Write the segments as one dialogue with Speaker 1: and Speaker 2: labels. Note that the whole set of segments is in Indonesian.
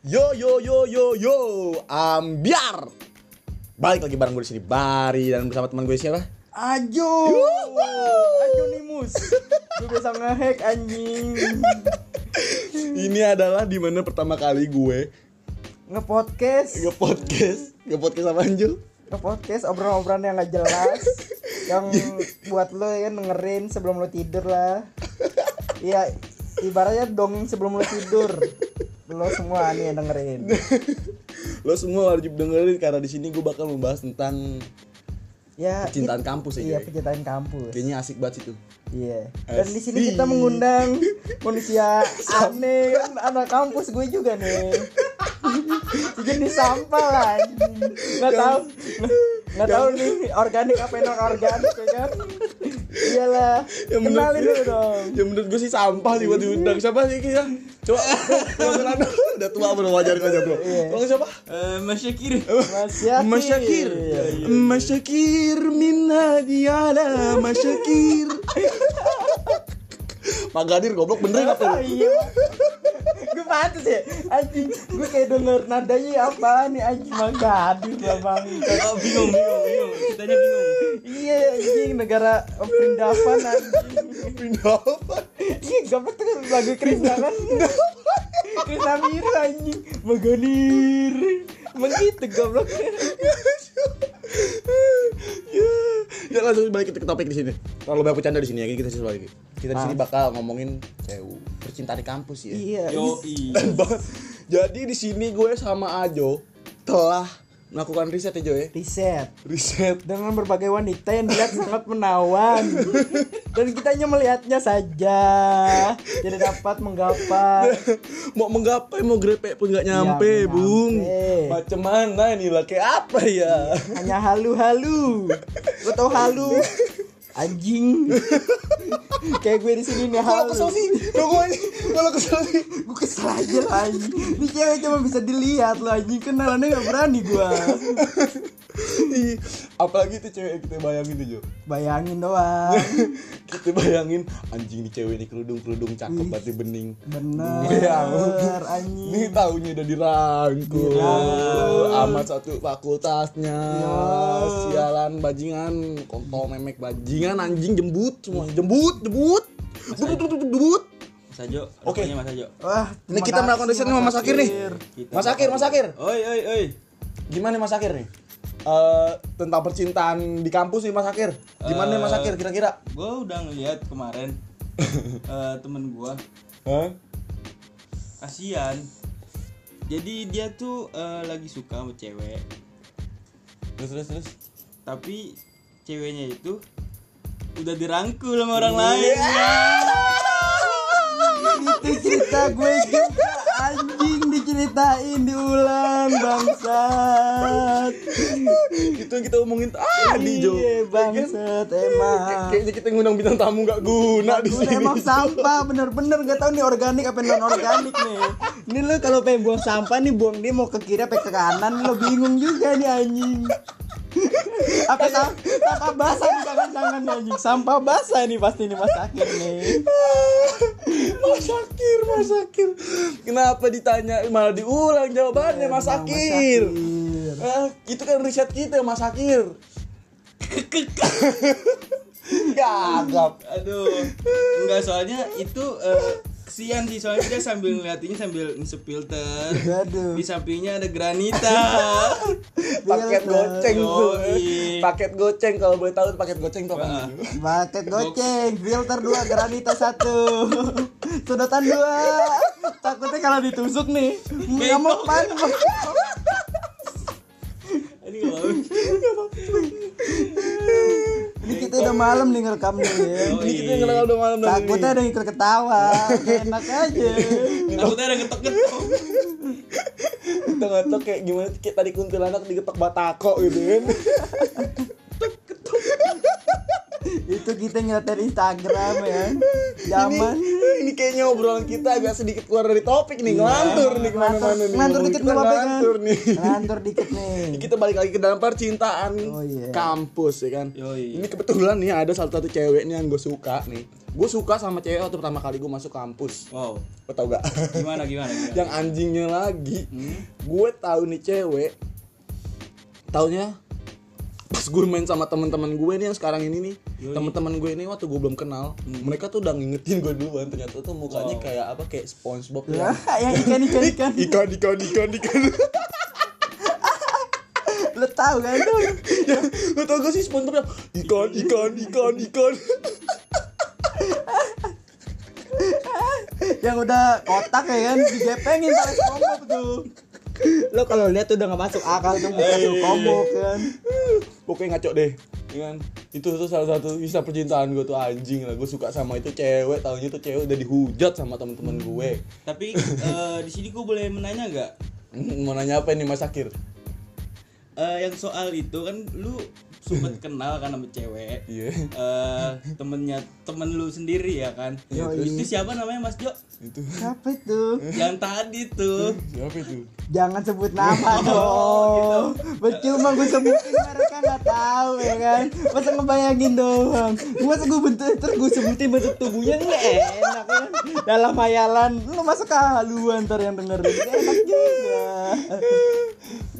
Speaker 1: Yo yo yo yo yo, ambiar. Balik lagi bareng gue di sini Bari dan bersama teman gue siapa?
Speaker 2: Ajo.
Speaker 1: Yuhu.
Speaker 2: Ajonimus. Gue biasa ngehack anjing.
Speaker 1: Ini adalah dimana pertama kali gue
Speaker 2: Nge-podcast,
Speaker 1: nge-podcast Nge-podcast sama Anjul
Speaker 2: nge-podcast obrolan-obrolan yang gak jelas. yang buat lo ya dengerin sebelum lo tidur lah. Iya, ibaratnya dongeng sebelum lo tidur. Lo semua nih yang dengerin.
Speaker 1: Lo semua wajib dengerin karena di sini gue bakal membahas tentang
Speaker 2: Ya,
Speaker 1: Percintaan kampus ya,
Speaker 2: Iya,
Speaker 1: Joy.
Speaker 2: percintaan kampus.
Speaker 1: Kayaknya asik banget itu
Speaker 2: Iya. Dan di sini
Speaker 1: Asik.
Speaker 2: kita mengundang manusia aneh kan anak kampus gue juga nih. Sejenis sampah lah. anjing. Nggak tahu, nggak tahu nih organik apa non organik ya kan? Iyalah. Kenalin dulu dong.
Speaker 1: Ya menurut gue sih sampah sih buat diundang Siapa sih kita? Coba Coba Fernando. Udah tua bro, wajar aja bro
Speaker 2: Iya.
Speaker 1: Tolong siapa?
Speaker 3: Mas Syakir
Speaker 2: Mas Syakir.
Speaker 1: Masyakir
Speaker 2: Iya,
Speaker 1: ya.
Speaker 2: iya.
Speaker 1: Masyakir min hadiala Masyakir Magadir goblok benerin apa
Speaker 2: Oh,
Speaker 1: lu?
Speaker 2: iya. gue pantes ya anjing gue kayak denger nadanya apa nih anjing mah gadis lah bang
Speaker 3: Oh, bingung, bingung, bingung. Kitanya bingung.
Speaker 2: iya anjing negara perindapan anjing
Speaker 1: Pindah apa?
Speaker 2: Iya gampang tuh lagu Krisna kan Krisna Mira anjing Meganir Begitu goblok
Speaker 1: ya, ya langsung balik kita ke topik di sini. Terlalu banyak bercanda di sini ya, kita sisi lagi. Kita di sini bakal ngomongin CU, percintaan di kampus ya.
Speaker 2: Iya
Speaker 3: Yoi.
Speaker 1: Bang, Jadi di sini gue sama Ajo telah melakukan riset ya Jo ya.
Speaker 2: Riset
Speaker 1: Riset.
Speaker 2: dengan berbagai wanita yang dilihat sangat menawan dan kitanya melihatnya saja tidak dapat menggapai
Speaker 1: mau menggapai mau grepe pun nggak nyampe,
Speaker 2: Iya, nggak
Speaker 1: Bung.
Speaker 2: nyampe.
Speaker 1: Macam mana ini lah kayak apa ya?
Speaker 2: hanya halu-halu lo tau halu anjing kayak gue di sini nih
Speaker 1: Kalau
Speaker 2: halu
Speaker 1: kesel sih, kalau gue kalau kesel sih.
Speaker 2: gue kesel aja lah anjing ini cewek cuma bisa dilihat loh anjing kenalannya gak berani gue
Speaker 1: Ih, Apalagi itu cewek yang kita bayangin tuh Jo.
Speaker 2: bayangin doang
Speaker 1: kita bayangin anjing di cewek ini kerudung kerudung cakep berarti bening
Speaker 2: bener
Speaker 1: Iya.
Speaker 2: anjing
Speaker 1: ini tahunya udah dirangkul
Speaker 2: Dirangkul. Iya.
Speaker 1: amat satu fakultasnya sialan bajingan kontol memek bajingan anjing jembut semua jembut jembut jembut jembut, jembut
Speaker 3: Mas Ajo,
Speaker 1: Oke.
Speaker 3: rupanya Mas Ajo.
Speaker 2: wah
Speaker 1: ini
Speaker 2: terima
Speaker 1: kita melakukan
Speaker 2: kasih,
Speaker 1: riset nih sama Mas Akir nih
Speaker 3: Kita
Speaker 1: Mas Akir Mas Akir
Speaker 3: Oi, oi, oi.
Speaker 1: gimana Mas Akir nih Eh, tentang percintaan di kampus nih Mas Akir gimana nih Mas
Speaker 3: Eh.
Speaker 1: Akir kira-kira
Speaker 3: Gue udah ngeliat kemarin eh, temen gue
Speaker 1: Hah?
Speaker 3: kasihan. Jadi dia tuh eh, lagi suka sama cewek,
Speaker 1: terus terus terus
Speaker 3: tapi ceweknya itu udah dirangkul sama orang
Speaker 1: Iya.
Speaker 3: lain.
Speaker 2: itu cerita gue juga anjing diceritain diulang bangsat
Speaker 1: itu yang kita omongin tadi Jo Ya kan?
Speaker 2: Iya, bangsat emang
Speaker 1: Kayak- Kayaknya kita ngundang bintang tamu gak guna di
Speaker 2: Gue
Speaker 1: sini.
Speaker 2: emang sampah bener-bener gak tau nih organik apa non organik nih Ini lo kalau pengen buang sampah nih buang dia mau ke kiri apa ke kanan lo bingung juga nih anjing apa sam- sampah basah nih jangan-jangan nih, anjing sampah basah nih pasti nih mas akhir nih
Speaker 1: Mas Akir, Mas Akir. Kenapa ditanya malah diulang jawabannya Mas
Speaker 2: Emang, Mas
Speaker 1: Akir?
Speaker 2: Akir.
Speaker 1: Eh, itu kan riset kita Mas Akir. Gagap.
Speaker 3: Aduh, enggak soalnya itu eh, kesian sih soalnya dia sambil ngeliatinnya sambil ngisep filter.
Speaker 2: Aduh.
Speaker 3: Di sampingnya ada granita.
Speaker 1: Paket
Speaker 2: Filter.
Speaker 1: goceng tuh.
Speaker 3: Yoi.
Speaker 1: Paket goceng kalau boleh tahu paket goceng tuh apa? Jo?
Speaker 3: Wah.
Speaker 2: Bucket goceng, filter dua, granita satu, sedotan dua. Takutnya kalau ditusuk nih, ngamuk pan.
Speaker 3: Ini kalau
Speaker 2: Ini kita udah malam nih ngerekam nih. ya.
Speaker 1: Ini kita ngelang udah malam nanti.
Speaker 2: Takutnya ada yang ikut ketawa. Enak aja.
Speaker 3: takutnya ada ketok-ketok.
Speaker 1: kita ngetok kayak gimana kayak tadi kuntilanak digetok batako gitu kan
Speaker 2: itu kita ngeliatin Instagram ya zaman
Speaker 1: ini, ini kayaknya obrolan kita agak sedikit keluar dari topik nih ngelantur nih kemana-mana nih Ngomong
Speaker 2: ngantur Iya. dikit
Speaker 1: kita
Speaker 2: nggak apa-apa kan
Speaker 1: ngelantur nih
Speaker 2: ngantur dikit nih
Speaker 1: kita balik lagi ke dalam percintaan
Speaker 2: Oh, iya.
Speaker 1: kampus ya kan
Speaker 3: Yoi.
Speaker 1: ini kebetulan nih ada salah satu cewek nih yang gue suka nih gue suka sama cewek waktu pertama kali gue masuk kampus
Speaker 3: Wow.
Speaker 1: lo tau gak
Speaker 3: Gimana gimana? gimana?
Speaker 1: yang anjingnya lagi
Speaker 3: Hmm.
Speaker 1: gue tahu nih cewek taunya pas gue main sama teman-teman gue nih yang sekarang ini nih
Speaker 3: Yoi. Hmm.
Speaker 1: teman-teman gue ini waktu gue belum kenal mereka tuh udah ngingetin gue duluan ternyata tuh mukanya
Speaker 3: Wow.
Speaker 1: kayak apa kayak SpongeBob ya
Speaker 2: Ya, yang ikan ikan ikan
Speaker 1: ikan ikan ikan ikan
Speaker 2: lo tau kan tuh
Speaker 1: ya, lo tau gak sih SpongeBob yang ikan ikan ikan ikan
Speaker 2: yang udah kotak ya kan digepengin pakai SpongeBob tuh lo kalau lihat udah nggak masuk akal tuh muka
Speaker 1: Hey.
Speaker 2: SpongeBob kan
Speaker 1: pokoknya ngaco deh ya kan itu tuh salah satu kisah percintaan gue tuh anjing lah gue suka sama itu cewek taunya tuh cewek udah dihujat sama teman-teman gue
Speaker 3: Tapi eh, di sini gue boleh menanya nggak?
Speaker 1: Hmm, mau nanya apa nih Mas Akir
Speaker 3: Eh, yang soal itu kan lu sempet kenal kan sama cewek.
Speaker 1: Iya.
Speaker 3: Eh, temennya temen lu sendiri ya kan?
Speaker 1: Iya, terus?
Speaker 3: itu siapa namanya Mas Jo?
Speaker 1: itu
Speaker 2: apa itu
Speaker 3: Yang tadi tuh.
Speaker 1: siapa itu
Speaker 2: jangan sebut nama dong percuma gue sebutin mereka nggak tahu ya kan masa ngebayangin doang masa gue bentuk terus gue sebutin bentuk tubuhnya nggak enak kan dalam hayalan lu masuk kehaluan ntar yang dengerin Nggak enak juga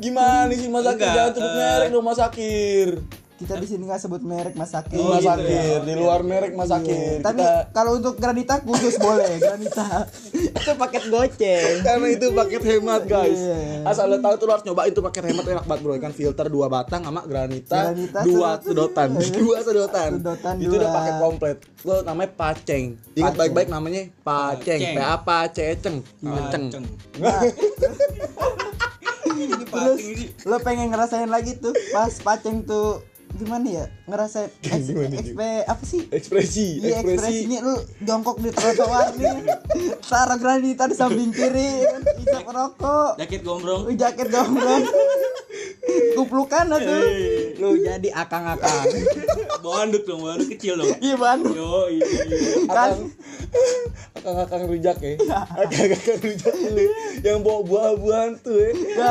Speaker 1: gimana sih Mas Akir jangan
Speaker 3: Enggak,
Speaker 1: sebut
Speaker 3: eh.
Speaker 1: merek dong Mas Akir
Speaker 2: kita di sini nggak sebut merek Mas Aki
Speaker 3: Oh,
Speaker 1: Mas
Speaker 3: gitu
Speaker 1: Akir
Speaker 3: ya,
Speaker 1: di
Speaker 3: oke,
Speaker 1: luar merek Mas Akir
Speaker 2: Tapi
Speaker 1: Kita-
Speaker 2: kalau untuk granita khusus boleh granita. Itu paket goceng.
Speaker 1: karena itu paket hemat guys
Speaker 2: Iya.
Speaker 1: asal lo tahu tuh lo harus nyobain tuh paket hemat enak banget bro kan filter dua batang sama granita,
Speaker 2: Granita
Speaker 1: dua
Speaker 2: satu-
Speaker 1: sedotan dua sedotan,
Speaker 2: Sedotan
Speaker 1: itu udah
Speaker 2: dua.
Speaker 1: paket komplit lo namanya paceng ingat
Speaker 2: Paceng.
Speaker 1: baik-baik namanya paceng
Speaker 3: Paceng.
Speaker 1: p a p a c e ceng paceng
Speaker 3: Paceng. Ah, Ini
Speaker 2: Terus
Speaker 3: paceng sih.
Speaker 2: lo pengen ngerasain lagi tuh pas paceng tuh gimana ya? Ngerasain eks-
Speaker 1: Gimana, Ju?
Speaker 2: XP apa sih?
Speaker 1: ekspresi
Speaker 2: Iya
Speaker 1: ekspresi
Speaker 2: ekspresinya lu jongkok di trotoar nih. Taruh granita di samping kiri, kan? isap rokok.
Speaker 3: Jaket gombrong.
Speaker 2: Jaket gombrong. Kuplukan lah tuh. Lu jadi akang-akang.
Speaker 3: Bawa anduk dong, bawa anduk kecil dong.
Speaker 2: Gimana?
Speaker 3: Yo, iya.
Speaker 2: Kan Iya.
Speaker 1: Akang- akang-akang rujak ya akang-akang rujak lu yang bawa buah-buahan tuh ya
Speaker 2: Ya.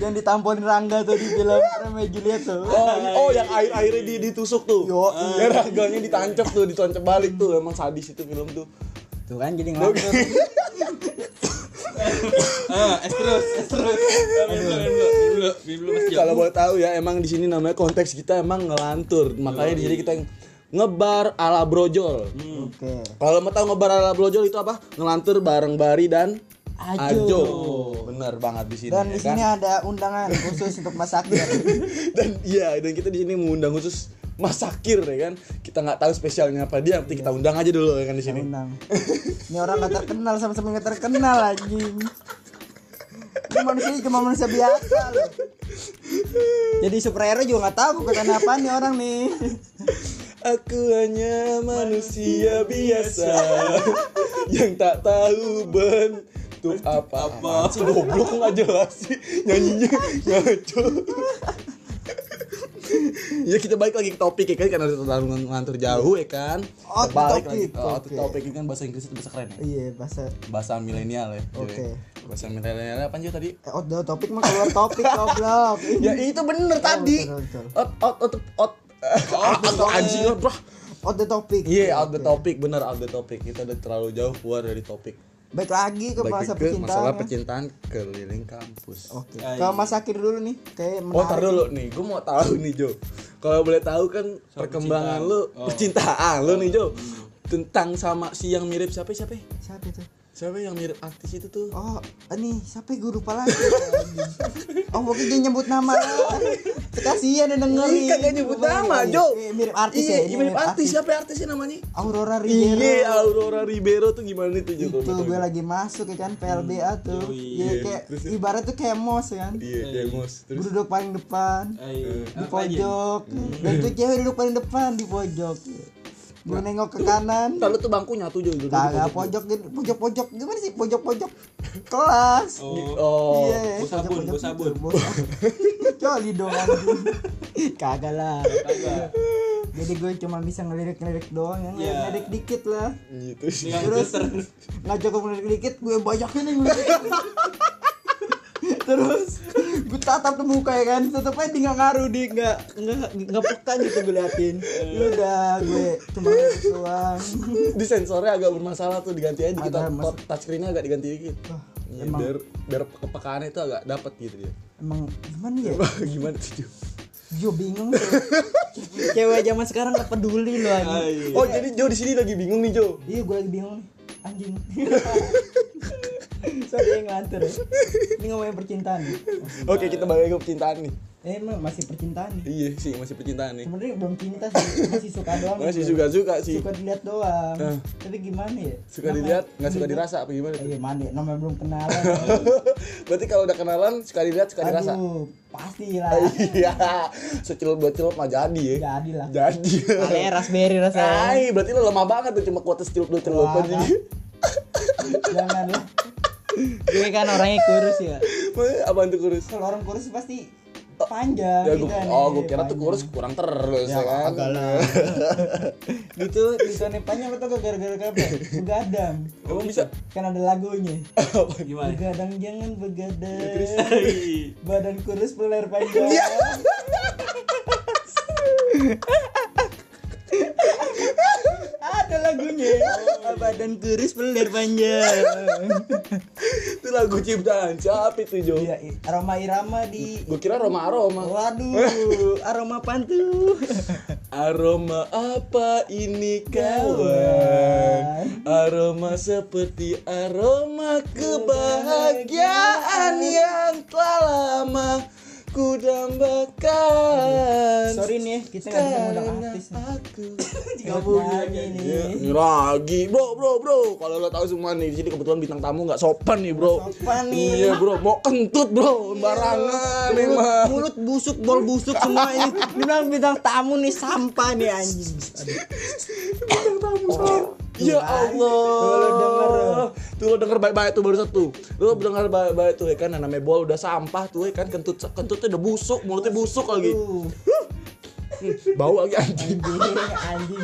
Speaker 2: yang ditamponin Rangga tuh di film Romeo and Juliet tuh.
Speaker 1: Oh, oh yang air airnya di, ditusuk tuh. Ah.
Speaker 2: Yo,
Speaker 1: yang raganya ditancap tuh, ditancap balik tuh. Emang sadis itu film tuh.
Speaker 2: Tuh kan jadi ngelantur.
Speaker 3: Ah, es terus, es terus. Ah, minum dulu, minum dulu, minum dulu, minum dulu, Mas Jo.
Speaker 1: Kalau boleh tahu ya, emang di sini namanya konteks kita emang ngelantur. Makanya di sini kita ngebar ala brojol.
Speaker 2: Oke.
Speaker 1: Kalau mau tahu ngebar ala brojol itu apa? Ngelantur bareng Bari dan
Speaker 2: Ajo.
Speaker 1: Bener banget di sini.
Speaker 2: Dan
Speaker 1: ya
Speaker 2: di
Speaker 1: kan?
Speaker 2: sini ada undangan khusus untuk Mas ya. Akbar.
Speaker 1: dan iya dan kita di sini mengundang khusus Mas Sakir ya kan kita nggak tahu spesialnya apa dia nanti kita undang aja dulu ya kan di sini
Speaker 2: Undang. Ini orang gak terkenal sama-sama gak terkenal anjing. Ini manusia cuma manusia biasa loh. Jadi superhero juga gak tahu kekuatan apa nih orang nih.
Speaker 1: Aku hanya manusia biasa yang tak tahu bentuk apa apa sih goblok nggak jelas sih nyanyinya ngaco. ya kita balik lagi ke topik ya kan karena udah terlalu ngantur jauh ya kan. Kita
Speaker 2: Oh,
Speaker 1: balik
Speaker 2: topik,
Speaker 1: lagi oh,
Speaker 2: topik.
Speaker 1: topik ini kan bahasa Inggris itu bahasa keren ya.
Speaker 2: Iya, bahasa
Speaker 1: Bahasa milenial ya. Joy.
Speaker 2: Oke.
Speaker 1: Bahasa milenial apa Joy, tadi?
Speaker 2: eh, out the topik mah keluar topik goblok.
Speaker 1: Ya itu bener tadi.
Speaker 2: betul, betul.
Speaker 1: Out out out out atau Oh, anjing out, bro.
Speaker 2: Out the topik.
Speaker 1: Iya, out the topic, bener out the topic. Kita udah terlalu jauh keluar dari topik.
Speaker 2: Baik lagi ke
Speaker 1: Baik
Speaker 2: bahasa
Speaker 1: ke masalah
Speaker 2: percintaan. ya.
Speaker 1: percintaan keliling kampus.
Speaker 2: Oke.
Speaker 3: Ah,
Speaker 2: Ke Mas Akir dulu nih, kayak
Speaker 1: Oh,
Speaker 2: menarik.
Speaker 1: tar dulu nih, gue mau tahu nih Jo. Kalau boleh tahu kan perkembangan
Speaker 3: percintaan.
Speaker 1: lu,
Speaker 3: Oh.
Speaker 1: percintaan Hmm. lu nih Jo. Tentang sama si yang mirip siapa siapa?
Speaker 2: Siapa itu?
Speaker 1: Siapa yang mirip artis itu tuh?
Speaker 2: Oh, ini siapa gue lupa lagi. oh, mungkin dia nyebut nama. Kasihan yang dengerin.
Speaker 1: Ih, kagak nyebut nama,
Speaker 2: Iya,
Speaker 1: Jo.
Speaker 2: iya, Mirip artis
Speaker 1: iya,
Speaker 2: ya. ini
Speaker 1: Iya, mirip artis. Siapa artisnya namanya?
Speaker 2: Aurora Ribeiro.
Speaker 1: Iya, Aurora Ribeiro tuh gimana tuh Jo?
Speaker 2: Itu gue lagi masuk ya kan PLBA tuh.
Speaker 3: Iya,
Speaker 2: Iya, kayak
Speaker 1: terus-
Speaker 2: ibarat tuh kayak mos ya kan.
Speaker 1: Iya, demos. Terus Eh,
Speaker 2: Gue duduk paling depan,
Speaker 3: Ayo,
Speaker 2: di
Speaker 3: apa aja?
Speaker 2: pojok.
Speaker 1: Iya.
Speaker 2: Dan tuh cewek duduk paling depan di pojok. Gue nengok ke kanan.
Speaker 1: Ntar lu tuh bangku nyatu Jo. duduk di pojok.
Speaker 2: Kagak pojok gitu, pojok-pojok gimana sih pojok-pojok kelas.
Speaker 3: Oh,
Speaker 1: Oh,
Speaker 2: Iya,
Speaker 3: bos sabun,
Speaker 2: pojok-pojok
Speaker 3: bos sabun.
Speaker 2: gitu, bos- Coli dong anjing. Kagak lah.
Speaker 3: kagak.
Speaker 2: jadi gue cuma bisa ngelirik-ngelirik doang ya
Speaker 3: Iya.
Speaker 2: ngelirik dikit lah
Speaker 1: gitu sih
Speaker 3: Dengan
Speaker 2: Terus?
Speaker 3: filter.
Speaker 2: nggak cukup ngelirik dikit gue banyakin yang ngelirik terus gue tatap ke muka ya kan tetep aja dia nggak ngaruh di nggak nggak nggak peka gitu gue liatin
Speaker 3: Eh.
Speaker 2: Ya udah gue cuma ngelirik doang
Speaker 1: di sensornya agak bermasalah tuh diganti aja dikit
Speaker 2: Ada mas-
Speaker 1: touch- touchscreennya agak diganti dikit
Speaker 2: Wah,
Speaker 3: Ya
Speaker 1: Iya,
Speaker 2: emang
Speaker 1: biar biar kepekaannya itu agak dapat gitu dia
Speaker 2: emang gimana ya
Speaker 1: gimana sih Ju?
Speaker 2: Jo bingung tuh. cewek zaman sekarang gak peduli loh
Speaker 3: Ah,
Speaker 2: anjing
Speaker 3: iya.
Speaker 1: oh jadi Jo di sini lagi bingung nih Jo
Speaker 2: iya gue lagi bingung nih anjing sorry yang ngelantur ya. ini ngomongin percintaan
Speaker 1: oke kita balik ke percintaan nih
Speaker 2: eh emang masih percintaan nih
Speaker 1: iya sih masih percintaan nih
Speaker 2: sebenarnya belum cinta sih masih suka doang
Speaker 1: masih
Speaker 2: gitu.
Speaker 1: suka suka sih
Speaker 2: suka dilihat doang
Speaker 1: Ah.
Speaker 2: tapi gimana ya
Speaker 1: suka
Speaker 2: Namanya-
Speaker 1: dilihat nggak suka dirasa apa gimana
Speaker 2: Eh,
Speaker 1: tuh?
Speaker 2: gimana ya namanya belum kenalan
Speaker 1: berarti kalau udah kenalan suka dilihat suka dirasa
Speaker 2: aduh pasti lah
Speaker 1: iya secelup dua celup mah jadi ya
Speaker 2: jadi lah
Speaker 1: jadi
Speaker 2: kalian raspberry rasanya
Speaker 1: Ay, berarti lo lemah banget tuh cuma kuota secelup dua celup
Speaker 2: Wah,
Speaker 1: aja
Speaker 2: jangan lah gue kan orangnya kurus ya
Speaker 1: apaan tuh kurus
Speaker 2: kalau orang kurus pasti panjang
Speaker 1: Ya,
Speaker 2: gitu
Speaker 1: gua,
Speaker 2: kan,
Speaker 1: oh,
Speaker 2: ya,
Speaker 1: gue kira tuh
Speaker 2: panjang.
Speaker 1: kurus kurang terus ya, kan.
Speaker 2: agak lah. gitu ditone panjang atau gak gara-gara apa begadang
Speaker 1: Emang Oh, bisa? Oh, iya.
Speaker 2: kan ada lagunya
Speaker 3: Gimana?
Speaker 2: begadang jangan begadang
Speaker 3: Hei.
Speaker 2: badan kurus peler panjang
Speaker 1: Iya.
Speaker 2: ada lagunya badan kurus peler panjang
Speaker 1: itu lagu ciptaan siapa itu Jo?
Speaker 2: ya, i- aroma irama di
Speaker 1: Gue kira aroma aroma.
Speaker 2: waduh aroma pantu
Speaker 1: Aroma apa ini kawan? Aroma seperti aroma kebahagiaan yang telah lama ku dambakan.
Speaker 2: sorry nih ya, kita nggak bisa ngundang
Speaker 1: Karena
Speaker 2: artis nih.
Speaker 1: aku.
Speaker 2: Nggak nyanyi
Speaker 1: Ya,
Speaker 2: nih
Speaker 1: lagi bro bro bro kalau lo tahu semua nih di sini kebetulan bintang tamu nggak sopan nih bro
Speaker 2: sopan nih.
Speaker 1: iya
Speaker 2: Iya.
Speaker 1: bro mau kentut bro barangan emang
Speaker 2: mulut busuk bol busuk semua ini bilang bidang tamu nih sampah nih anjing
Speaker 1: Ya
Speaker 2: Tuh, lo denger, ya.
Speaker 1: Allah.
Speaker 2: lo.
Speaker 1: Tuh lo denger baik-baik tuh baru satu. Lo denger baik-baik tuh ya kan yang namanya bol udah sampah tuh ya kan kentut kentutnya udah busuk, mulutnya busuk lagi.
Speaker 2: Aduh,
Speaker 1: Bau lagi anjing.
Speaker 2: anjing anjing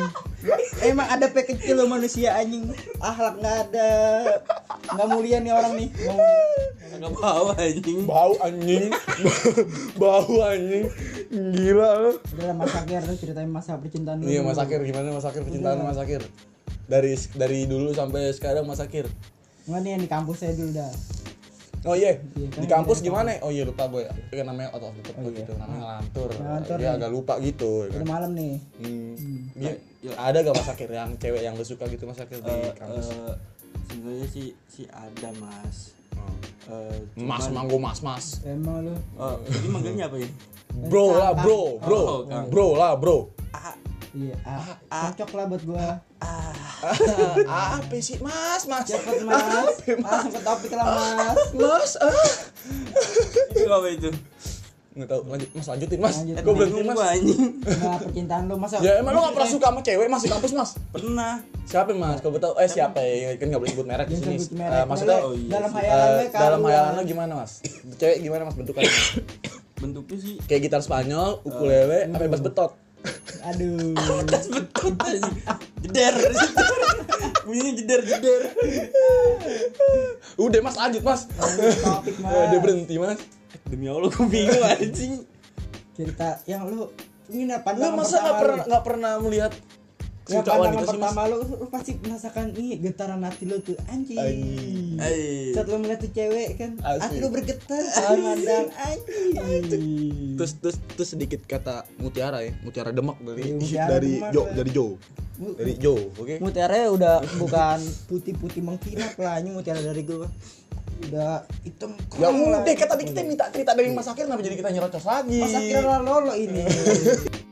Speaker 2: emang ada pe kecil lo manusia anjing akhlak nggak ada nggak mulia nih orang nih Nggak mulia.
Speaker 3: Agak
Speaker 1: Bau
Speaker 3: bau anjing.
Speaker 1: anjing. Bau anjing. Gila lo.
Speaker 2: udah lah, mas akhir lu ceritain masa percintaan lu
Speaker 1: Iya Mas Akir gimana Mas Akir percintaan Mas Akir? Dari dari dulu sampai sekarang Mas Akir.
Speaker 2: nggak nih yang di kampus saya dulu dah
Speaker 1: Oh iya,
Speaker 2: Iya,
Speaker 1: di kampus gimana? Oh iya lupa gue ya. Kan namanya out of the top gitu, namanya ngelantur.
Speaker 2: Ngelantur
Speaker 1: Iya
Speaker 2: nih.
Speaker 1: agak lupa gitu. ya kan.
Speaker 2: udah malam nih
Speaker 1: Hmm. Iya. Ada gak Mas Akir yang cewek yang lu suka gitu Mas Akir di
Speaker 3: Eh,
Speaker 1: kampus?
Speaker 3: eh, Sebenarnya si si ada mas. Eh,
Speaker 1: mas manggo mas mas.
Speaker 2: emang lu
Speaker 3: oh, ini manggilnya apa ya?
Speaker 1: Bro lah bro, bro,
Speaker 3: Oh, Kang.
Speaker 1: bro lah bro.
Speaker 2: iya ah, cocok lah buat gua
Speaker 1: Ah, apa sih mas mas?
Speaker 2: cepet mas langsung ke topik lah mas
Speaker 1: Mas, ah.
Speaker 3: Itu apa itu?
Speaker 1: nggak tahu lanjut mas lanjutin mas.
Speaker 2: Lanjut,
Speaker 1: Gue berhenti
Speaker 3: Bingung
Speaker 1: mas.
Speaker 3: gua, anjing.
Speaker 2: Nah, percintaan lu masa
Speaker 1: Ya emang lu gak pernah suka sama cewek mas di kampus mas?
Speaker 3: Pernah.
Speaker 1: Siapa mas? Kau tahu? Eh siapa ya? Kan gak boleh sebut merek di
Speaker 2: Jangan
Speaker 1: sini.
Speaker 2: sebut merek.
Speaker 1: Eh, maksudnya
Speaker 2: Dalam-
Speaker 3: oh, iya
Speaker 2: dalam
Speaker 3: sih.
Speaker 2: hayalan
Speaker 1: eh,
Speaker 2: lu
Speaker 1: dalam
Speaker 2: keluar.
Speaker 1: hayalan lo gimana mas? Cewek gimana mas bentukannya?
Speaker 3: Bentuknya sih
Speaker 1: Kayak gitar Spanyol,
Speaker 2: Hmm.
Speaker 1: ukulele, apa bass betot?
Speaker 2: Aduh.
Speaker 3: Tas betot anjing. Jeder. jeder. Bunyinya jeder jeder.
Speaker 1: Udah mas lanjut mas.
Speaker 2: Topik mas.
Speaker 1: Eh, Dia berhenti mas.
Speaker 3: Demi Allah gua bingung anjing.
Speaker 2: Cerita yang lu ini apa?
Speaker 1: Lu masa nggak pernah nggak pernah melihat
Speaker 2: Ya,
Speaker 1: cinta
Speaker 2: pandangan
Speaker 1: wanita sih mas?
Speaker 2: pertama lu, lu pasti merasakan ini getaran hati lu tuh anjing.
Speaker 1: Anjing.
Speaker 3: Eh,
Speaker 2: Saat lu melihat tuh cewek kan,
Speaker 1: Asli.
Speaker 2: hati lu bergetar, mandang anjing.
Speaker 1: Terus terus terus sedikit kata mutiara ya, mutiara demak dari
Speaker 2: Iya, mutiara
Speaker 1: dari
Speaker 2: Demak,
Speaker 1: Jo
Speaker 2: ya.
Speaker 1: dari Jo.
Speaker 2: Mu-
Speaker 1: Dari Jo, oke.
Speaker 2: Mutiara udah bukan putih-putih mengkilap lah anjing mutiara dari gua. Udah hitam
Speaker 1: Ya
Speaker 2: kerang lah.
Speaker 1: udah, kan tadi kita minta cerita dari Mas Akhir kenapa jadi kita nyerocos lagi?
Speaker 2: Masa kira lolo ini.